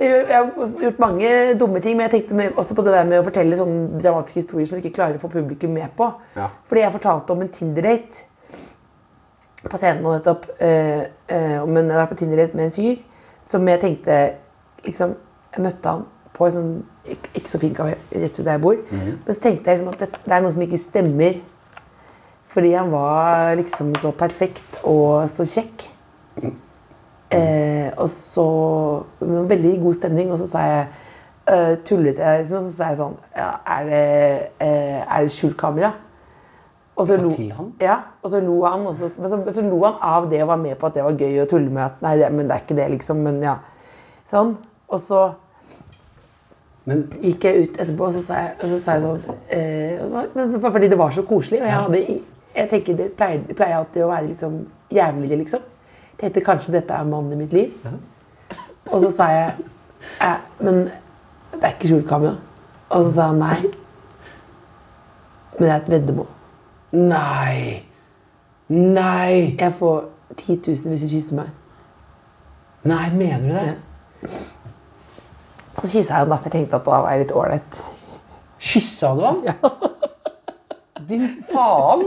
Jeg har gjort mange dumme ting, men jeg tenkte med- også på det der med å fortelle sånne dramatiske historier som jeg ikke klarer å få publikum med på. Ja. Fordi jeg fortalte om en Tinder-date. på scenen nå nettopp eh, eh, om en, jeg har vært på Tinder med en fyr som jeg tenkte liksom, Jeg møtte han på på en sånn ikke ikke så fin kafé rett ved der jeg bor. Men så tenkte jeg liksom at det, det er noe som ikke stemmer. Fordi han var liksom så perfekt og så kjekk. Eh, og så med Veldig god stemning. Og så sa jeg eh, Tullet jeg liksom, og så sa jeg sånn ja, Er det, eh, er det skjult kamera? Og så, lo, til han? ja, og så lo han, og så, men så, så lo han av det og var med på at det var gøy å tulle med. At, nei, det, men det er ikke det, liksom. Men ja. Sånn. Og så Men gikk jeg ut etterpå, og så sa jeg, og så sa jeg sånn eh, det var- Men bare fordi det var så koselig. Og jeg, hadde, i- jeg tenker det pleier, det pleier alltid å være liksom jævligere, liksom. Jeg tenkte kanskje dette er mannen i mitt liv. Og så sa jeg eh, Men det er ikke skjult kamera. Og så sa han nei. Men det er et veddemål. Nei! Nei! Jeg får 10 000 hvis du kysser meg. Nei, mener du det? Så kyssa jeg han da, for jeg tenkte at da var jeg litt ålreit. Kyssa du han? Din faen!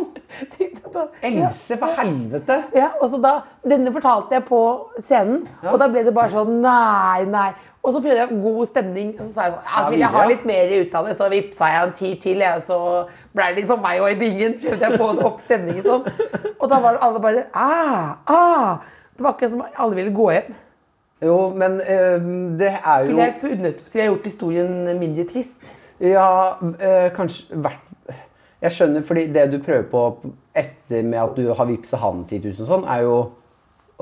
Tenkte at da- Else, for helvete! Ja, og så da, Denne fortalte jeg på scenen, og da ble det bare sånn Nei, nei. Og så prøvde jeg god stemning, og så sa jeg sånn ja, så vil jeg ha videre. litt mer ut av det, så vippsa jeg en ti til, jeg, og så ble det litt for meg og i bingen. Prøvde jeg å få opp stemningen sånn. Og da var det alle bare ah, ah. Det var akkurat som alle ville gå hjem. Jo, men øhm, det er jo Skulle jeg, funnet, skulle jeg gjort historien mindre trist? Ja, øh, kanskje vært Jeg skjønner, fordi det du prøver på etter med at du har vippsa han 10 000 og sånn, er jo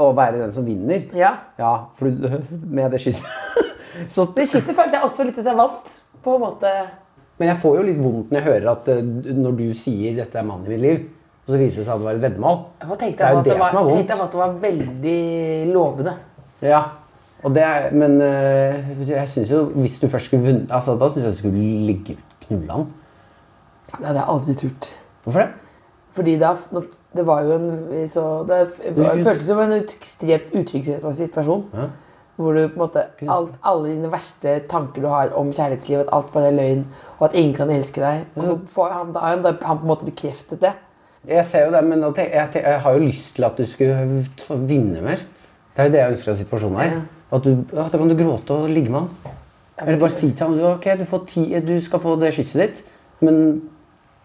å være den som vinner. Ja. ja for du, med det kysset. Så, Men kysset følte jeg også litt at jeg vant. På en måte men jeg får jo litt vondt når jeg hører at øh, når du sier 'dette er mannen i mitt liv', og så viser det seg at det var et veddemål. Hva Det tenkte er jeg jo at det det var, som er vondt. tenkte jeg at det var veldig lovende. Ja, og det er, men øh, jeg synes jo hvis du først skulle vunnet, altså da synes jeg du skulle ligge knulle han. Det hadde jeg aldri turt. Hvorfor det? Fordi da nå- Det var jo en så, Det f- var- skulle- føltes som en ut- ekstremt utrygg situasjon. Hvor du på en måte alt, Alle dine verste tanker du har om kjærlighetslivet, at alt bare er løgn, og at ingen kan elske deg. Og så får han, da, har han, da, han på en måte bekreftet det. Jeg ser jo det, men nå tenk- jeg, tenk- jeg har jo lyst til at du skulle få vinne mer. Det er jo det jeg ønsker av situasjonen her. At du, ja, da kan du gråte og ligge med han. Eller bare si til ham du, ok, du, får ti, du skal få det kysset ditt, men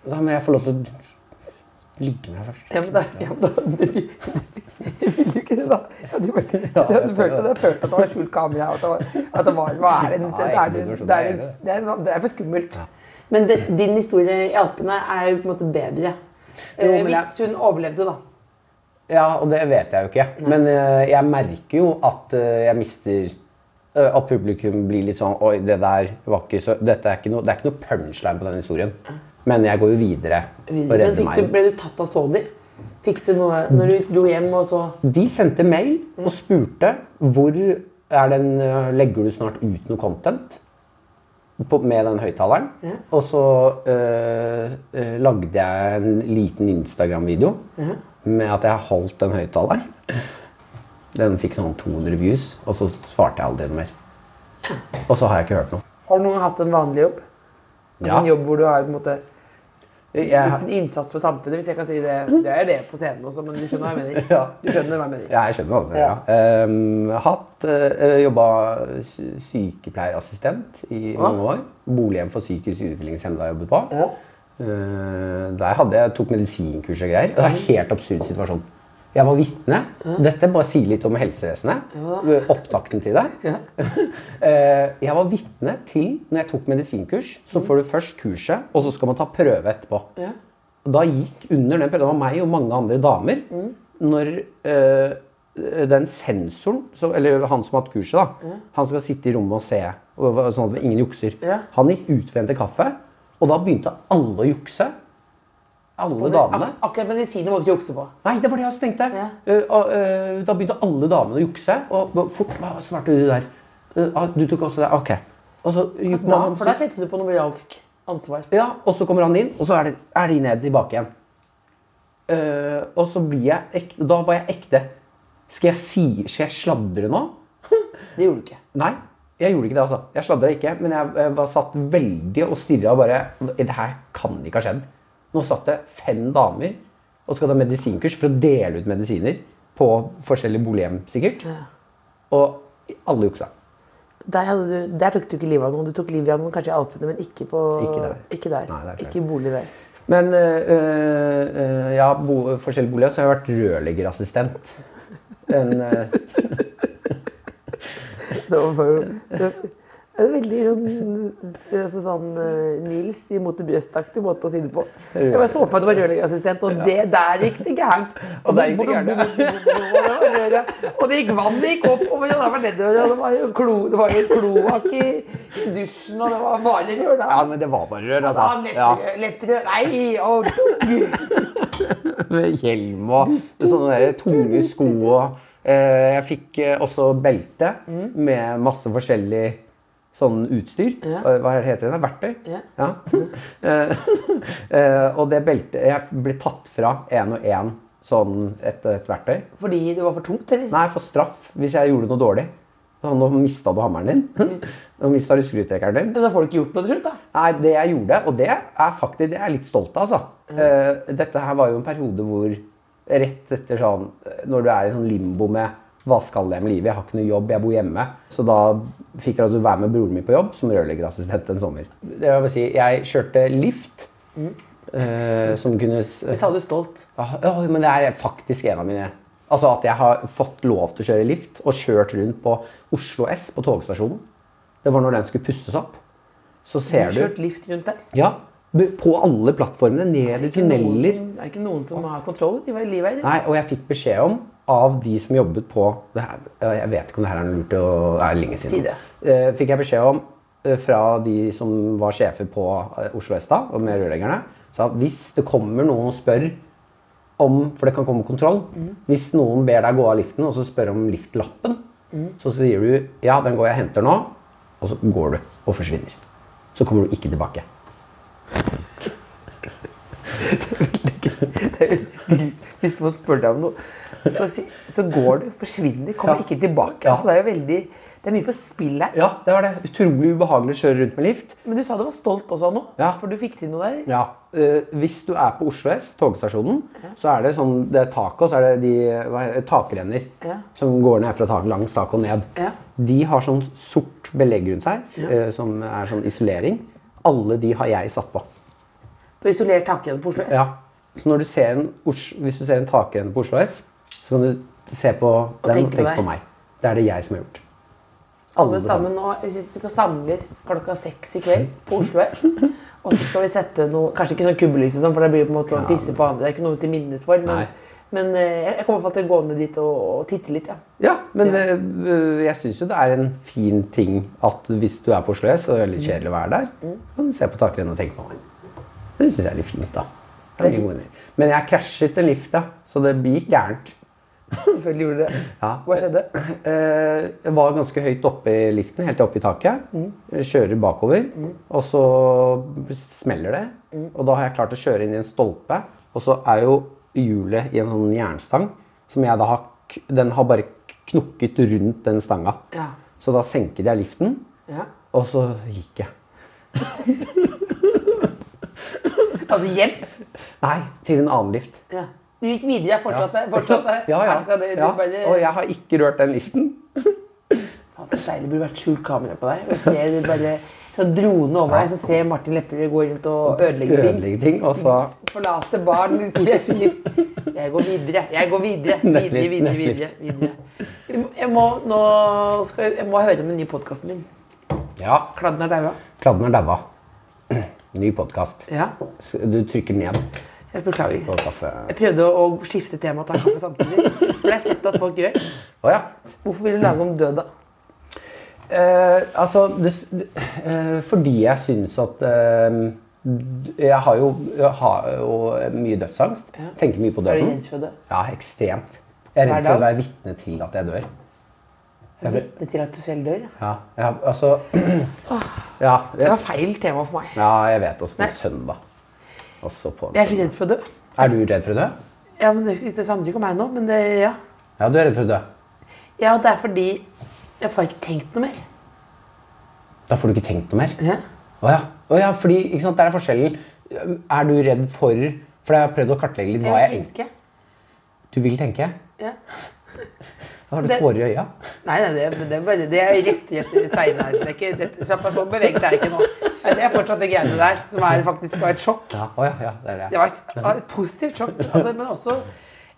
da må jeg få lov til å ligge med deg først. Ja, men da, ja, men da du, Ville du ikke det, da? Ja, du, følte- Ja, ja, jeg du ser følte det. det. Følte at det var skjult kamera. og At det var, at det var hva er det, det, er, det, det, er, det, det, er, det er for skummelt. Men det, din historie i Alpene er jo på en måte bedre. Jo, Eh, men jeg- hvis hun overlevde, da. Ja, og det vet jeg jo ikke. Men eh, jeg merker jo at eh, jeg mister eh, At publikum blir litt sånn Oi, det der var ikke så dette er ikke noe, Det er ikke noe punchline på den historien. Men jeg går jo videre og Men redder fikk du, meg. ble du tatt av Sony? Fikk du noe når du dro hjem og så De sendte mail og spurte hvor er den, eh, legger du snart ut noe content på, med den høyttaleren. Og så eh, eh, lagde jeg en liten Instagram-video med at jeg holdt den høyttaleren. Den fikk sånn 200 views, og så svarte jeg aldri noe mer. Og så har jeg ikke hørt noe. Har du noen gang hatt en vanlig jobb? Altså Ja. En jobb hvor du har på en måte Jeg, en innsats for samfunnet, hvis jeg kan si det. Det er det på scenen også, men du skjønner hva jeg mener. Ja. Du skjønner hva jeg mener. Ja, jeg skjønner hva du mener. Ja. Um, hatt, uh, jobba sy- sykepleierassistent i mange år. Bolighjem for psykisk utviklingshemmede har jeg jobbet på. Ja. Eh, der hadde jeg tok medisinkurs og greier. Det var en helt absurd situasjon. Jeg var vitne. Dette bare sier litt om helsevesenet. Opptakten til deg. Eh, jeg var vitne til, når jeg tok medisinkurs, så får du først kurset, og så skal man ta prøve etterpå. Og Da gikk under den prøven, det var meg og mange andre damer, når eh, den sensoren, som- eller han som har hatt kurset, da, han skal sitte i rommet og se, og, og sånn at ingen jukser. Ja. Han gikk ut for å hente kaffe, og da begynte alle å jukse. Alle damene. Ak akkurat medisiner må du ikke jukse på. Nei, det var det jeg også tenkte. Ja. Eh, og, eh, da begynte alle damene å jukse. Og og fort hva svarte du der? Eh, ah, du tok også det? Ok. Og så gikk Da, man- for da kjente du på noe moralsk ansvar. ja, og så kommer han inn, og så er det, er de ned tilbake igjen. Eh, og så blir jeg ekte. Da var jeg ekte. Skal jeg si Skal jeg sladre nå? Det gjorde du ikke. Nei. Jeg gjorde ikke det, altså. Jeg sladra ikke, men jeg, eh, var satt veldig og stirra og bare Det her kan ikke ha skjedd. Nå satt det fem damer og skal ta medisinkurs for å dele ut medisiner på forskjellige bolighjem, sikkert. Og alle juksa. Der, hadde du, der tok du ikke livet av noen. Du tok livet av noen kanskje i Alpene, men ikke på Ikke der. Ikke, der. Nei, det er klart. ikke i bolig der. Men øh, øh, ja, bo, forskjellige boliger, så har jeg vært rørleggerassistent. En, øh, Det var bare det er veldig sånn, altså sånn eh, Nils i Mot det bjøstaktig måte å si det på. Jeg bare så for meg at du var rørleggerassistent, og det der gikk det gærent. Og der gikk det gærent, ja. ja. Og det gikk vann det gikk opp, og det var nedover, og det var jo klo, det var jo kloakk i i dusjen, og det var bare rør da. ja, men det var bare rør, Da, altså. Ja. Lepperød, lepperød, nei, og Med hjelm og sånne der tunge sko og øh, Jeg fikk øh, også belte Mm. med masse forskjellig sånn utstyr. Ja. Øh, Hva heter det? da? Verktøy? Ja. Eh, eh, og det beltet Jeg ble tatt fra én og én sånn et, et verktøy. Fordi det var for tungt, eller? Nei, for straff hvis jeg gjorde noe dårlig. Sånn, nå mista du hammeren din. Nå mista du skrutrekkeren din. Men da får du ikke gjort noe til slutt, da. Nei, det jeg gjorde, og det er faktisk det er jeg litt stolt av, altså. Eh, dette her var jo en periode hvor rett etter sånn eh, Når du er i sånn limbo med hva skal jeg med livet, jeg har ikke noe jobb, jeg bor hjemme. Så da fikk jeg lov til å være med broren min på jobb som rørleggerassistent en sommer. Det vil jeg bare si, jeg kjørte lift. eh, som kunne s- Jeg sa du stolt. ja, ja, men det er faktisk en av mine Altså at jeg har fått lov til å kjøre lift og kjørt rundt på Oslo S på togstasjonen. Det var når den skulle pusses opp. Så ser du, Kjørt lift rundt der. Ja, bu- på alle plattformene, ned i Det tunneler. er ikke noen som har kontroll i livet. Nei, og jeg fikk beskjed om av de som jobbet på det her, ja, Jeg vet ikke om det her er noe lurt å er lenge siden. Si det. Eh, Fikk jeg beskjed om eh, fra de som var sjefer på eh, Oslo S da, og med rørleggerne, sa at hvis det kommer noen og spør om For det kan komme kontroll. Mm. Hvis noen ber deg gå av liften og så spør om liftlappen, Mm. så sier du ja, den går jeg og henter nå, og så går du og forsvinner. Så kommer du ikke tilbake. Hvis hvis noen spør deg om noe, så, si- så går du, forsvinner, kommer Ja. ikke tilbake. Ja. Altså, det er jo veldig Det er mye på spill her. Ja, det var det. Utrolig ubehagelig å kjøre rundt med lift. Men du sa du var stolt også av noe, Ja. for du fikk til noe der. Ja. eh, hvis du er på Oslo S, togstasjonen, så er det sånn det er taket, og så er det de hva heter, det, takrenner Ja. som går ned fra taket, langs taket og ned. Ja. De har sånn sort belegg rundt seg, eh, som er sånn isolering. Alle de har jeg satt på. På isolert takrenne på Oslo S. Ja. Så når du ser en, Os- hvis du ser en takrenne på Oslo S, så kan du se på den tenke og på tenke deg. på meg. Det er det jeg som har gjort. Alle sammen nå, jeg synes vi skal samles klokka seks i kveld på Oslo S. Og så skal vi sette noe Kanskje ikke sånn kubbelys, og sånn, for det blir på en måte å Ja, pisse på andre. Det er ikke noe til minnes for. Nei. Men, men eh, jeg kommer i hvert fall til å gå ned dit og, og titte litt, ja. Ja, men eh, øh, jeg syns jo det er en fin ting at hvis du er på Oslo S, og det er Mm. litt kjedelig å være der, kan du se på takrennet og tenke på meg. Det syns jeg er litt fint, da. Jeg er Det er veldig god i det. Men jeg krasjet en lift, ja. Så det gikk gærent. Selvfølgelig gjorde du det. Ja. Hva skjedde? Eh, Jeg var ganske høyt oppe i liften, helt oppe i taket. Mm. Jeg Kjører bakover, og så smeller det. Mm. Og da har jeg klart å kjøre inn i en stolpe, og så er jo hjulet i en sånn jernstang som jeg da har k- Den har bare knukket rundt den stanga. Ja. Så da senket jeg liften, Ja. og så gikk jeg. Altså hjem? Nei, til en annen lift. Ja. Du gikk videre, jeg fortsatte. fortsatte. Ja, ja. Her skal det, ja. du bare... Og jeg har ikke rørt den liften. Faen, så deilig det burde vært skjult kamera på deg. Og ser det bare sånn drone over deg, så ser Martin Lepperød gå rundt og ødelegge ting. Ødelegge ting. Og så Forlate barn, krasjelift. Jeg går videre, jeg går videre. Neste Videre, lift, videre, neste videre. lift. videre. Vi må- Jeg må, nå skal, jeg- jeg må høre om den nye podkasten din. Ja, Kladden er daua. kladden er daua. Ny podkast. Ja, Du trykker ned jeg beklager. på kaffe... Jeg prøvde å skifte tema og ta kaffe samtidig. For det har jeg sett at folk gjør. Å ja. Hvorfor vil du lage om død, da? Eh, altså, det, s- det, eh, fordi jeg syns at eh, d- jeg har jo, jeg har jo mye dødsangst. Tenker mye på Er du døden. redd for det? Ja, ekstremt. Jeg er Hver redd for å dag? være vitne til at jeg dør. Jeg Vitne til at du selv dør? ja. Ja, ja altså ja, Det jeg, var feil tema for meg. ja, jeg vet. Også på Nei. en søndag. Også på en Jeg er så søndag. redd for å dø. Er du redd for å dø? Ja, men det, det handler ikke om meg nå, men det, ja. Ja, du er redd for å dø. Ja, det er fordi jeg får ikke tenkt noe mer. Da får du ikke tenkt noe mer. Ja. Å ja. Å ja, fordi ikke sant, der er forskjellen. Er du redd for For jeg har prøvd å kartlegge litt hva Jeg jeg tenker. Du vil tenke? Ja. Har du Det- tårer i øya? Nei, nei, det, det, er bare- det er rester etter Steinar. Det er ikke, det, slapp av, så beveget er jeg ikke nå. Nei, Det er fortsatt det greiene der, som er, faktisk var et sjokk. Ja, å ja, ja, det er Det det. var et, var et positivt sjokk. Altså, men også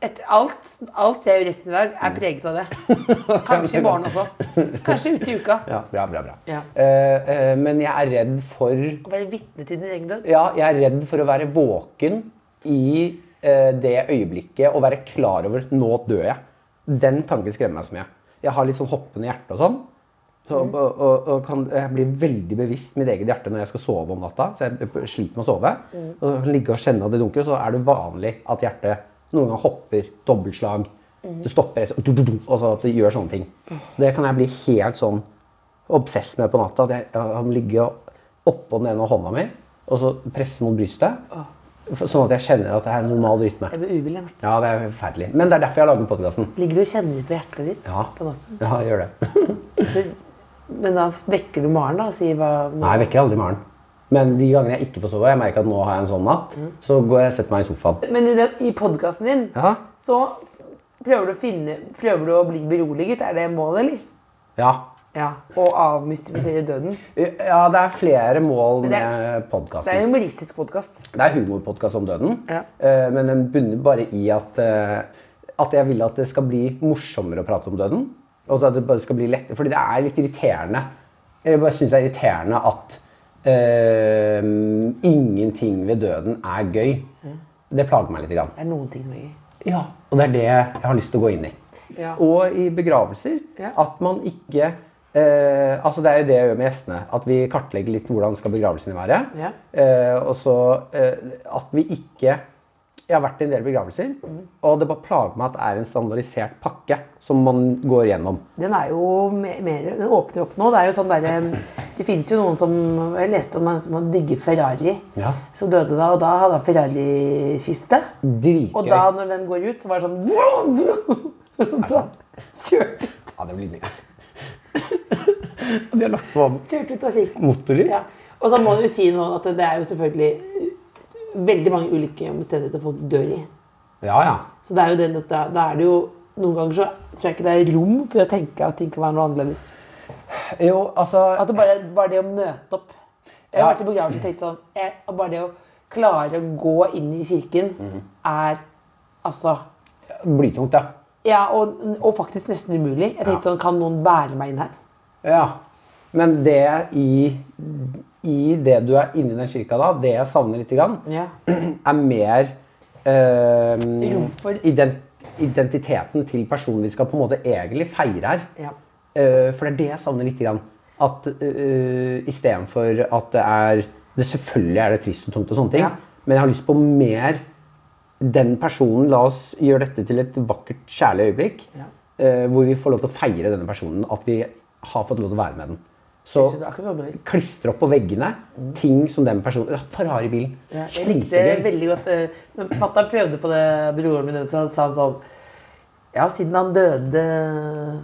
et, alt, alt jeg gjør resten i dag, er preget av det. Kanskje i morgen også. Kanskje ute i uka. Ja, bra, bra, bra. Ja. Eh, eh, men jeg er redd for Å være vitne til din egen død. Ja, jeg er redd for å være våken i eh, det øyeblikket og være klar over nå dør jeg. Den tanken skremmer meg så mye. Jeg har litt sånn hoppende hjerte og sånn. Så, Mm. og, og, og kan, jeg blir veldig bevisst mitt eget hjerte når jeg skal sove om natta. Så jeg p- sliter med å sove. Mm. Og så kan jeg ligge og kjenne at det dunker, så er det vanlig at hjertet noen ganger hopper dobbeltslag. Mm. Det stopper et sånt, du, du, du, og så at det gjør sånne ting. Det kan jeg bli helt sånn obsess med på natta. At jeg, jeg må ligge oppå den ene hånda mi og så presse mot brystet. f- Sånn at jeg kjenner at det er en normal rytme. Jeg blir uvillig. Ja, det er forferdelig. Men det er derfor jeg har laget podkasten. Ligger du og kjenner på hjertet ditt Ja. på natten? ja, jeg gjør det. Men da vekker du Maren da og sier hva Nei, jeg vekker aldri Maren. Men de gangene jeg ikke får sove, jeg merker at nå har jeg en sånn natt, Mm. så går jeg og setter meg i sofaen. Men i, den- i podkasten din Ja, så prøver du, å finne, prøver du å bli beroliget. Er det målet, eller? ja. Ja. Å avmystifisere døden. ja det er flere mål Men det er- med Det er podkasten. en humoristisk podkast. Det er humorpodkast om døden, Ja. eh, men den bunner bare i at, eh, at jeg vil at det skal bli morsommere å prate om døden. Og så at det bare skal bli lett, fordi det er litt irriterende. Jeg bare syns det er irriterende at eh, ingenting ved døden er gøy. Mm. Det plager meg litt. Grann. Det er noen ting som er gøy. Ja, og det er det jeg har lyst til å gå inn i. Ja. Og i begravelser. Ja. At man ikke eh, Altså Det er jo det jeg gjør med gjestene. At vi kartlegger litt hvordan skal begravelsene være. Ja. Eh, og så eh, at vi ikke Jeg har vært i en del begravelser, Mm. og det bare plager meg at det er en standardisert pakke som man går gjennom. Den er jo me- mer, den åpner jo opp nå. Det er jo sånn der, eh, det finnes jo noen som Jeg leste om en som digger Ferrari, Ja. som døde da. Og da hadde han Ferrari-kiste. Og Dritgøy. da når den går ut, så var det sånn vroom, vroom. Så da kjørte, Ja, det blir nydelig. De har lagt på kjørte ut av kirka. motorer. Ja. Og så må du si noe at det er jo selvfølgelig veldig mange ulike omstendigheter folk dør i. ja. ja. Så det er jo den at da, da er det jo Noen ganger så tror jeg ikke det er rom for å tenke at ting kan være noe annerledes. Jo, altså At det bare, bare det å møte opp Jeg har Ja. vært i begravelse og tenkt sånn jeg, at Bare det å klare å gå inn i kirken er altså Blytungt, ja. Ja, og, og faktisk nesten umulig. Jeg tenkte sånn Kan noen bære meg inn her? Ja, men det i, i det du er inni den kirka da, det jeg savner litt, grann, Ja. er mer eh, Rom for- ident identiteten til personen vi skal på en måte egentlig feire her. Ja. Eh, for det er det jeg savner litt. Grann. At uh, istedenfor at det er det Selvfølgelig er det trist og tungt, og sånne ting, Ja. men jeg har lyst på mer den personen, la oss gjøre dette til et vakkert, kjærlig øyeblikk. eh, hvor vi får lov til å feire denne personen, at vi har fått lov til å være med den. Så Så det er akkurat det. Mm. klistre opp på veggene ting som den personen ja, Ferrari-bilen. Ja, Jeg likte Kjempegøy. veldig godt eh, Men Fatter'n prøvde på det, broren min, så han sa han sånn Ja, siden han døde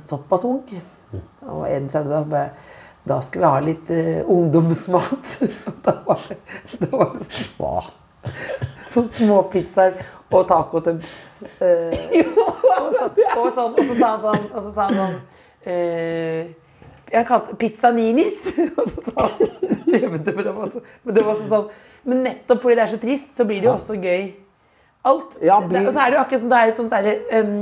såpass ung, han var 31 da, så bare, da skal vi ha litt eh, ungdomsmat. Og da var det, da var det sånn- Hva? sånn småpizzaer og tacotubs. Eh, og, så- og, sånn, og så sa han sånn, og så sa han sånn eh, Jeg kalte pizza ninis. Og så sa han prøvde, men det var også, men det var også sånn Men nettopp fordi det er så trist, så blir det jo også gøy. Alt. Ja, Det- blir- Og så er det jo akkurat som du er et sånt derre ehm,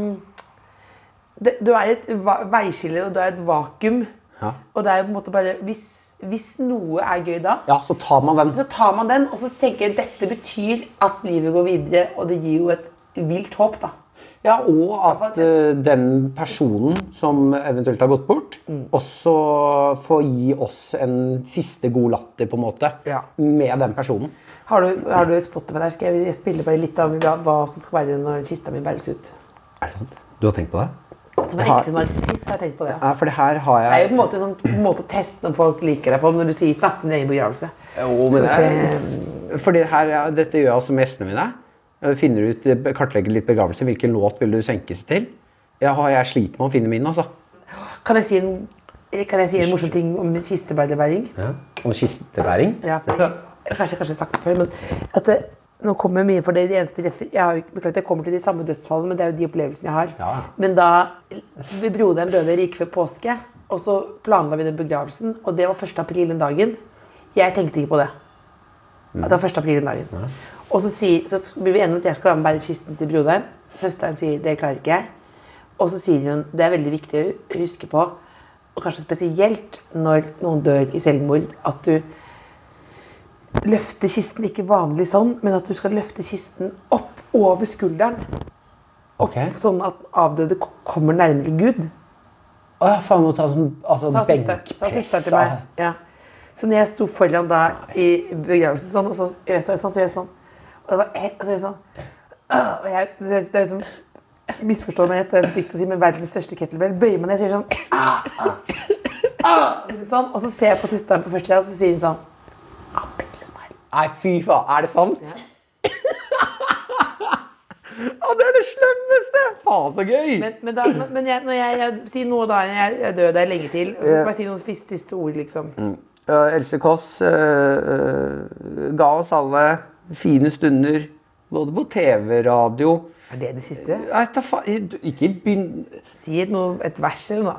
det- Du er et va- veiskille, og du er et vakuum. Ja. Og det er jo på en måte bare Hvis, hvis noe er gøy da, ja, så tar man den. så tar man den, og så tenker jeg dette betyr at livet går videre, og det gir jo et vilt håp, da. Ja, og at eh, den personen som eventuelt har gått bort, Mm. også får gi oss en siste god latter, på en måte, Ja. med den personen. Har du, har du Spotify der? Skal jeg spille bare litt av hva- hva som skal være når kista mi bæres ut? Er det sant? Du har tenkt på det? Som en Jeg har- ekte narsissist har jeg tenkt på det. Ja, for det her har Det er jeg jo på en måte en sånn, måte å teste om folk liker deg på, når du sier 'snakke om din egen begravelse'. Jo, men Skal vi det er- for det her, er- dette gjør jeg også med gjestene mine. Jeg Finner ut, kartlegger litt begravelse. Hvilken låt vil du senkes til? Jeg, har, jeg sliter med å finne min, altså. Kan jeg si en, kan jeg si en morsom ting om kistebærebæring? Mm. Ja. Og kistebæring? Ja, for- kanskje jeg kanskje har sagt det før, men at det, Nå kommer mye for det, de eneste refer jeg, har, jo ikke- beklager, at jeg kommer til de samme dødsfallene, men det er jo de opplevelsene jeg har. Ja. Men da broderen døde like før påske, og så planla vi den begravelsen, og det var 1. april den dagen. Jeg tenkte ikke på det. Mm. At det var 1. april den dagen. Og så, sier, så blir vi enige om at jeg skal være med og bære kisten til broderen. Søsteren sier det klarer ikke jeg. Og så sier hun det er veldig viktig å huske på, og kanskje spesielt når noen dør i selvmord, at du løfte kisten ikke vanlig sånn, men at du skal løfte kisten opp over skulderen. Ok. Sånn at avdøde k- kommer nærmere Gud. Å ja, faen, må ta sånn altså, Sa søsteren sa benkpress. altså. søsteren til meg. Ja. Så når jeg sto foran da i begravelsen sånn, og så gjør jeg sånn, så gjør jeg sånn. Og det var helt, og så gjør jeg sånn. Øh, Og jeg, det, er- det er liksom Misforstå meg rett, det er jo stygt å si, men verdens største kettlebell. Bøyer meg ned, så gjør jeg sånn. ah, ah, ah, så gjør jeg sånn. Og så ser jeg på søsteren på første rad, så sier hun sånn. Apelsnegl. Nei, fy faen. Er det sant? Ja. det er det slemmeste! Faen, så gøy! Men, men, da, men jeg, når jeg, jeg Si noe, da. Jeg, jeg dør der lenge til. Og så bare si noen siste, siste ord, liksom. Mm. Ja, Else Kåss eh, eh, ga oss alle fine stunder, både på TV, radio Er det det siste? Nei, ta fa Ikke begynn Si et, noe, et vers eller noe.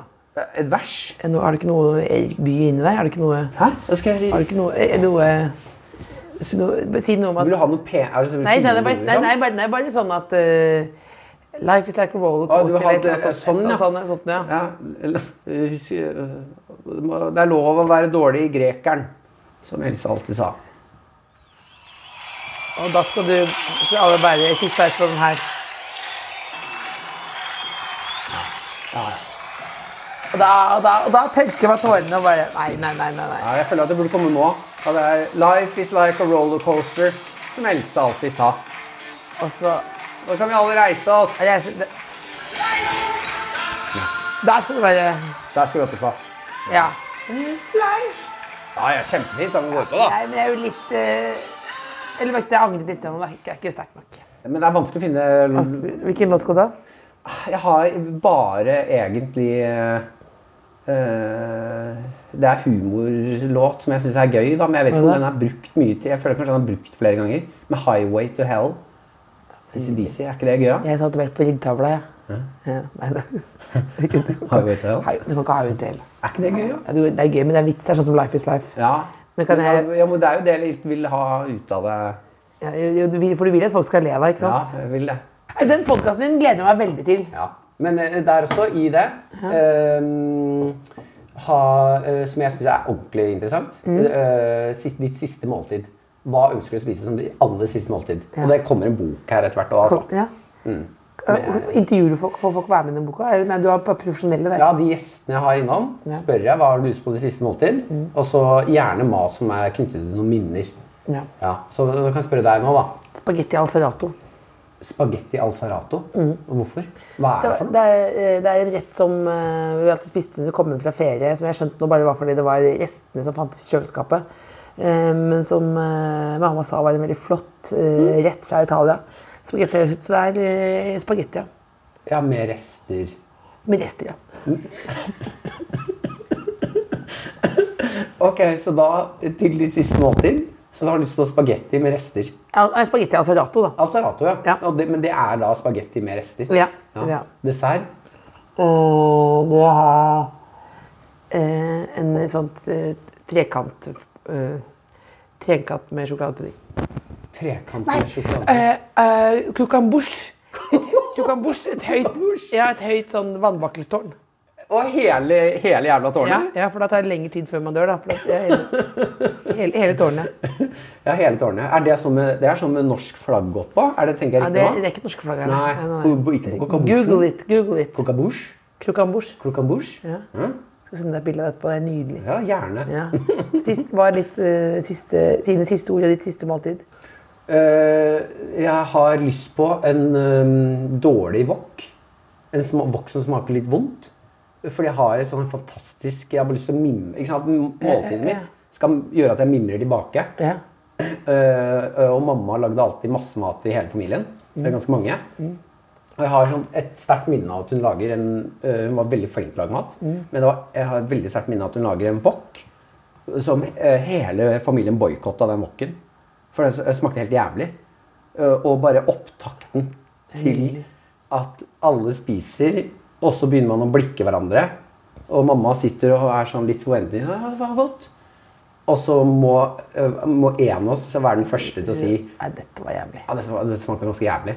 Et vers? Er noe- Har du ikke noe Erik Bye inni deg? Har du ikke noe Hæ? Da skal jeg Har du ikke noe, er noe, noe bare Si noe om at Vil du ha noe P... Er det sånn Nei, nei, det er bare, liksom? nei, nei, bare, nei, bare sånn at eh, Life is like a roller Å, Ah, du coaster. har eller et eller det- annet sånn, sånt. ja. Sånn, sånt, ja. Ja, eller, eh, husk, eh, det må- Det er lov å være dårlig i grekeren, som Else alltid sa. Og da skal du skal alle bære kista etterpå den her. Og da, og da, og da tørker meg tårene og bare Nei, nei, nei. nei, nei. Ja, jeg føler at det burde komme nå. Ja, det er 'Life is like a rollercoaster', som Else alltid sa. Og så Nå kan vi alle reise oss. jeg, så- det- Der skal du bare Der skal vi opp ifra. Ja. Ja, ja, kjempefint. Da kan vi gå ut på, da. Nei, men jeg er jo litt eh, Eller vet du, jeg angrer litt. nå, da. Jeg er ikke sterk nok. Men det er vanskelig å finne Hvilken låt skal du ha? Jeg har bare egentlig eh, Det er humorlåt som jeg syns er gøy, da, men jeg vet ikke om den er brukt mye til. Jeg føler kanskje den er brukt flere ganger. Med 'Highway to Hell'. ACDC, er ikke det gøy? da? Jeg tatoverte på ryggtavla, jeg. Ja, nei, det, Highway to Hell. Hei, du kan ikke ha ut til. Er ikke det gøy, da? Ja, du- Det er gøy, men det er vits. Det er sånn som Life is life. Ja. Men kan jeg- ja, men det er jo det jeg litt vil ha ut av det. Ja, jo, du vil, for du vil at folk skal le av deg, ikke Ja, sant? jeg vil det. Nei, Den podkasten din gleder jeg meg veldig til. Ja. Men eh, det er også i det ehm, ha, eh, Som jeg syns er ordentlig interessant. Mm. eh, sist, ditt siste måltid. Hva ønsker du å spise som ditt aller siste måltid? Og det kommer en bok her etter hvert. Og, altså. Ja. Eh, Intervjuer du folk? Får folk være med i den boka? Eller, nei, du har bare profesjonelle der. ja, De gjestene jeg har innom, spør jeg hva har du lyst på til siste måltid. Mm. Og så gjerne mat som er knyttet til noen minner. Ja. Ja, så da kan jeg spørre deg nå, da. Spagetti al serrato. Spagetti al sarato. Og hvorfor? Hva er Mm. Det, det var- for noe? det, er, eh, det er en rett som eh, vi alltid spiste når vi kom hjem fra ferie, som jeg skjønte nå bare var fordi det var restene som fantes i kjøleskapet. Eh, Men som eh, mamma sa var en veldig flott eh, rett fra Italia. Spagetti, så det er eh, spagetti, ja. Ja, Med rester. Med rester, ja. Ok, Så da til ditt siste måltid så har du lyst på spagetti med rester. Ja, nei, spagetti al serrato, da. Altså rato, ja. Ja. Og det, men det er da spagetti med rester? Ja, ja. Dessert? Og det har eh, en sånt eh, trekant eh, Trekant med sjokoladepudding. Trekant med sjokolade? Eh, eh, Cucambouche. Cucambouche, Et høyt, ja, et høyt sånn vannbakkelstårn. Og hele, hele jævla Ja, tårnet? ja, for da tar det lengre tid før man dør. da. For da det er hele, hele, hele tårnet. Ja. hele tårnet. Er det, sånn med, det er sånn med norsk flagg oppå? Er det, tenker Ja, jeg det, riktig det nå? er ikke norske flagg her. Nei, nei, på- på- ikke på kokabouche. Google it. Google it. Kokabouche? Cucambouche. Krokambouche? Ja. Skal sende deg et bilde av etterpå. Det er nydelig. ja, gjerne. Ja. Sist, var litt, eh, siste, sine siste ord og ditt siste måltid. Eh, jeg har lyst på en eh, dårlig wok. En sma- wok som smaker litt vondt. Fordi jeg har et sånn fantastisk Jeg har bare lyst til å mimre. Ikke sant? at Måltidet mitt skal gjøre at jeg mimrer tilbake. Ja. Eh, og mamma lagde alltid masse mat til hele familien. Det er ganske mange. Og jeg har sånn et sterkt minne av at hun lager en eh, Hun var veldig flink til å lage mat. Men det var, jeg har et veldig sterkt minne av at hun lager en wok som eh, hele familien boikotta den woken. For den s- smakte helt jævlig. eh, og bare opptakten til at alle spiser, og så begynner man å blikke hverandre. Og mamma sitter og er sånn litt forventende. «Ja, Det var godt. Og så må, eh, må en av oss være den første til å si Nei, dette var jævlig. ja, det, smak- det smaker ganske jævlig.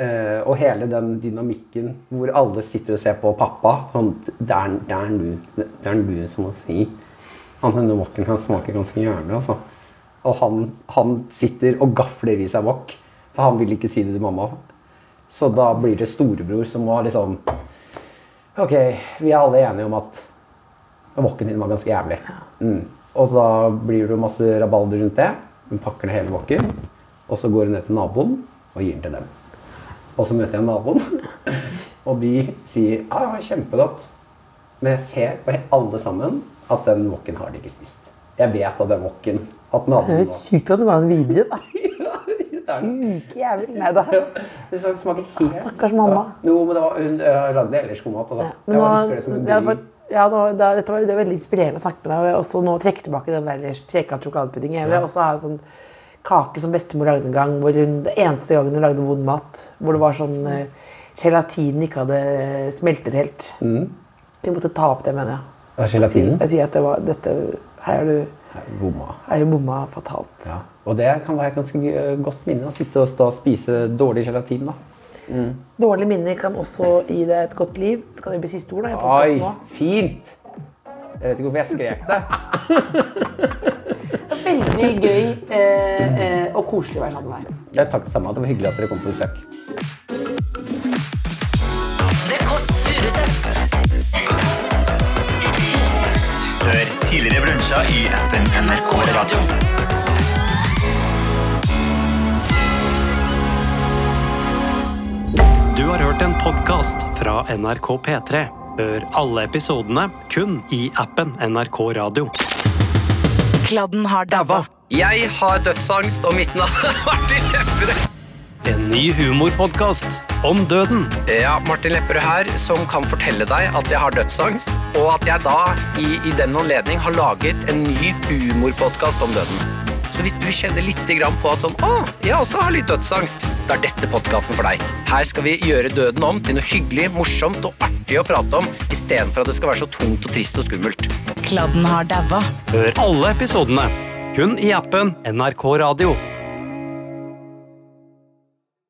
Eh, og hele den dynamikken hvor alle sitter og ser på pappa sånn, Det er det er du det er du som må si Han denne wokken her smaker ganske jævlig, altså. Og han, han sitter og gafler i seg wok, for han vil ikke si det til mamma. Så da blir det storebror som må liksom Ok, vi er alle enige om at wokken din var ganske jævlig. Mm. Og da blir det jo masse rabalder rundt det. Hun pakker ned hele wokken, og så går hun ned til naboen og gir den til dem. Og så møter jeg naboen, og de sier ja, det var kjempegodt. Men jeg ser på alle sammen at den wokken har de ikke spist. Jeg vet at den wokken at naboen Helt sykt at du var en videre, da. var Ikke jævlig. Nei da. Det smaker helt Stakkars mamma. Jo, men det var, hun eh, lagde ellers god mat. Altså. Ja, Jeg men bare nå- husker det som en det har god vært- ja, nå- det, er- dette var, det er veldig inspirerende å snakke med deg. Og jeg også nå trekker tilbake den der trekant sjokoladepudding. Jeg vil også ha en sånn kake som bestemor lagde en gang. Hvor hun, det eneste gangen hun lagde vond mat. Hvor det var sånn Mm. eh, Gelatinen ikke hadde smeltet helt. Mm. Vi måtte ta opp det, mener jeg. Ja, Jeg sier, gelatinen. jeg sier at det var, dette, her er du, God mat. er du bomma fatalt. Ja. Og det kan være et ganske eh, godt minne å sitte og stå og spise dårlig gelatin. da. Dårlige minner kan også gi deg et godt liv. Skal det bli siste ord, da? i podcasten Oi, nå? fint! Jeg vet ikke hvorfor jeg skrek det. Veldig gøy eh, eh, og koselig å være sammen med deg. Jeg takk det samme. Det var hyggelig at dere kom på besøk. Det Kåss Furuseths. Hør tidligere brunsja i appen NRK Radio. Du har hørt en podkast fra NRK P3. Hør alle episodene kun i appen NRK Radio. Kladden har dabba. Jeg har dødsangst, og mitt navn er Martin Lepperød. En ny humorpodkast om døden. Ja, Martin Lepperød her, som kan fortelle deg at jeg har dødsangst, og at jeg da, i, i den anledning, har laget en ny humorpodkast om døden. Så hvis du kjenner litt grann på at sånn, å, jeg også har litt dødsangst, da er dette podkasten for deg. Her skal vi gjøre døden om til noe hyggelig, morsomt og artig å prate om, istedenfor at det skal være så tungt og trist og skummelt. Kladden har dabba. Hør alle episodene kun i appen NRK Radio.